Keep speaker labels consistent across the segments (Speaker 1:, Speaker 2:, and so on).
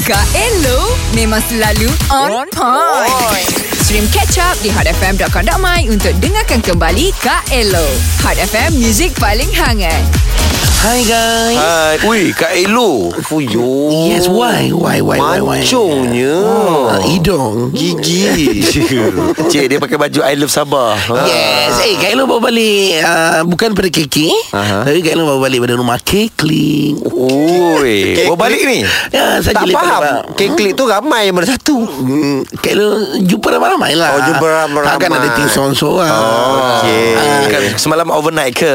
Speaker 1: Kak Elo memang selalu on point. Stream catch up di hotfm.com.my untuk dengarkan kembali Kak Elo. Hot FM, music paling hangat.
Speaker 2: Hi guys.
Speaker 3: Hai. Ui, Kak Elo. Fuyo.
Speaker 2: Eh? Yes, why? Why, why, why, why?
Speaker 3: Mancungnya.
Speaker 2: Ah, hidung.
Speaker 3: Gigi. Cik, dia pakai baju I Love Sabah. Ah.
Speaker 2: Yes. Eh, Kak Elo baru balik uh, bukan pada KK,
Speaker 3: Aha.
Speaker 2: tapi Kak Elo baru balik pada rumah Kekling.
Speaker 3: Ui, bawa balik ni.
Speaker 2: Ya, saya
Speaker 3: Tak
Speaker 2: jeli pada-
Speaker 3: faham. Keklik tu ramai yang bersatu.
Speaker 2: Hmm, Kak Elo jumpa ramai-ramai lah.
Speaker 3: Oh, jumpa ramai-ramai.
Speaker 2: Takkan ada ting seorang-seorang.
Speaker 3: Okey.
Speaker 2: Ah,
Speaker 3: Kan, Semalam overnight ke?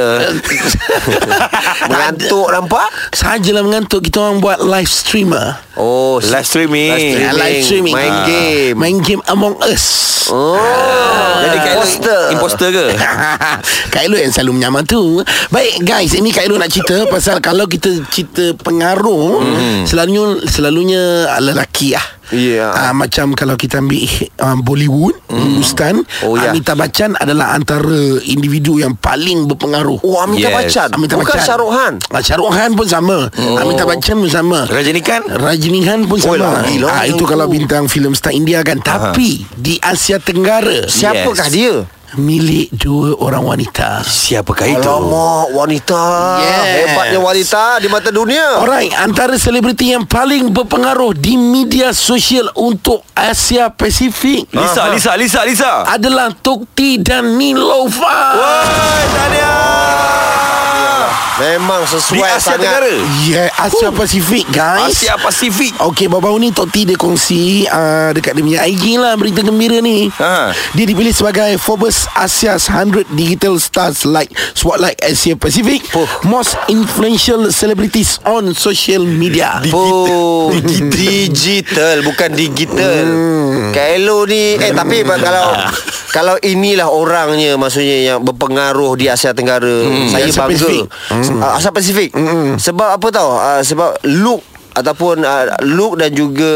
Speaker 3: Mengantuk nampak?
Speaker 2: Sajalah mengantuk Kita orang buat live streamer
Speaker 3: Oh, live streaming.
Speaker 2: Ah, Live streaming
Speaker 3: Main
Speaker 2: Ah.
Speaker 3: game.
Speaker 2: Main game Among Us
Speaker 3: Oh. Jadi Kak Elo
Speaker 2: Imposter.
Speaker 3: imposter ke?
Speaker 2: Kak Elo yang selalu menyamar tu Baik guys Ini Kak Elo nak cerita Pasal kalau kita cerita pengaruh
Speaker 3: Mhm.
Speaker 2: mm. Selalunya Selalunya lelaki lah
Speaker 3: Ya.
Speaker 2: Ah, Macam kalau kita ambil um, Bollywood Hindustan
Speaker 3: Mhm. Oh, ya.
Speaker 2: Amitabh Bachchan adalah antara individu yang paling berpengaruh
Speaker 3: Oh, Amitabh
Speaker 2: Yes.
Speaker 3: Bachchan.
Speaker 2: Amitabh
Speaker 3: Bukan
Speaker 2: Bachchan.
Speaker 3: Shah Rukh Khan.
Speaker 2: Ah, Shah Rukh Khan pun sama oh. Amitabh Bachchan pun sama
Speaker 3: Rajinikan?
Speaker 2: Rajinihan pun
Speaker 3: Oh,
Speaker 2: sama
Speaker 3: lah, gila.
Speaker 2: ah, Itu kalau bintang filem star India kan Tapi Di Asia Tenggara
Speaker 3: Siapakah dia?
Speaker 2: Milik dua orang wanita
Speaker 3: Siapakah
Speaker 4: Eh,
Speaker 3: itu? Alamak, wanita.
Speaker 2: Yes.
Speaker 3: Hebatnya wanita di mata dunia.
Speaker 2: Alright Antara selebriti yang paling berpengaruh Di media sosial Untuk Asia Pasifik
Speaker 4: Lisa,
Speaker 3: Aha.
Speaker 4: Lisa, Lisa, Lisa.
Speaker 2: Adalah Tukti dan Nilofa
Speaker 3: Woi, Tania. Memang sesuai
Speaker 4: Di Asia
Speaker 3: sangat.
Speaker 4: Tenggara.
Speaker 2: Yeah Ya, Asia Pasifik guys
Speaker 4: Asia Pasifik.
Speaker 2: Okey, baru-baru ni Tok T dia kongsi uh, dekat dia punya IG lah berita gembira ni.
Speaker 4: Ha.
Speaker 2: Dia dipilih sebagai Forbes Asia's 100 Digital Stars like Spotlight Asia Pacific
Speaker 3: Oh.
Speaker 2: Most Influential Celebrities on Social Media.
Speaker 3: Oh, digital bukan digital. Hmm. Kaelo ni eh tapi kalau kalau inilah orangnya maksudnya yang berpengaruh di Asia Tenggara. Hmm. Saya
Speaker 2: Asia
Speaker 3: Asia bangga.
Speaker 2: Pasifik.
Speaker 3: Pasifik. Hmm. Asia Pasifik. Hmm. Sebab apa tahu? Uh, sebab look ataupun uh, look dan juga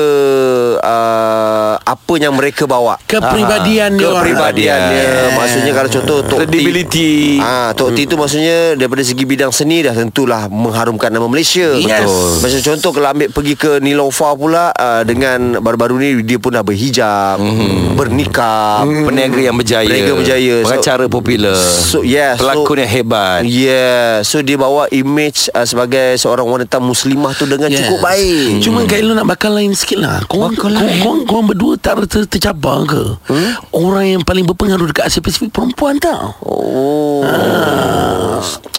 Speaker 3: uh, apa yang mereka bawa.
Speaker 2: Kepribadian dia orang.
Speaker 3: Kepribadian dia. Maksudnya kalau contoh Tok T
Speaker 4: Credibility.
Speaker 3: Ah, Tok T tu maksudnya daripada segi bidang seni dah tentulah mengharumkan nama Malaysia.
Speaker 2: Yes. Betul.
Speaker 3: Macam contoh kalau ambil pergi ke Niloufar pula uh, dengan baru-baru ni dia pun dah berhijab, mm-hmm. bernikah, mm-hmm.
Speaker 4: Peniaga yang berjaya.
Speaker 3: Peniaga berjaya. So-
Speaker 4: Pengacara popular.
Speaker 3: So yeah, so,
Speaker 4: Pelakon yang hebat.
Speaker 3: Yeah, so dia bawa image uh, sebagai seorang wanita muslimah tu dengan yes. cukup baik.
Speaker 2: Cuma Kak Elu nak bakal lain sikit lah Korang, korang, korang, korang berdua tak ter, tercabar ke hmm? Orang yang paling berpengaruh Dekat Asia Pasifik Perempuan tau
Speaker 3: Oh.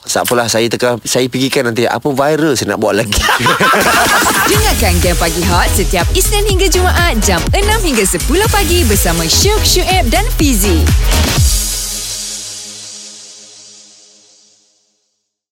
Speaker 3: Tak apalah saya teka, saya fikirkan nanti apa viral saya nak buat lagi.
Speaker 1: Dengarkan Game Pagi Hot setiap Isnin hingga Jumaat jam 6 hingga 10 pagi bersama Syuk, Syuib dan Fizi.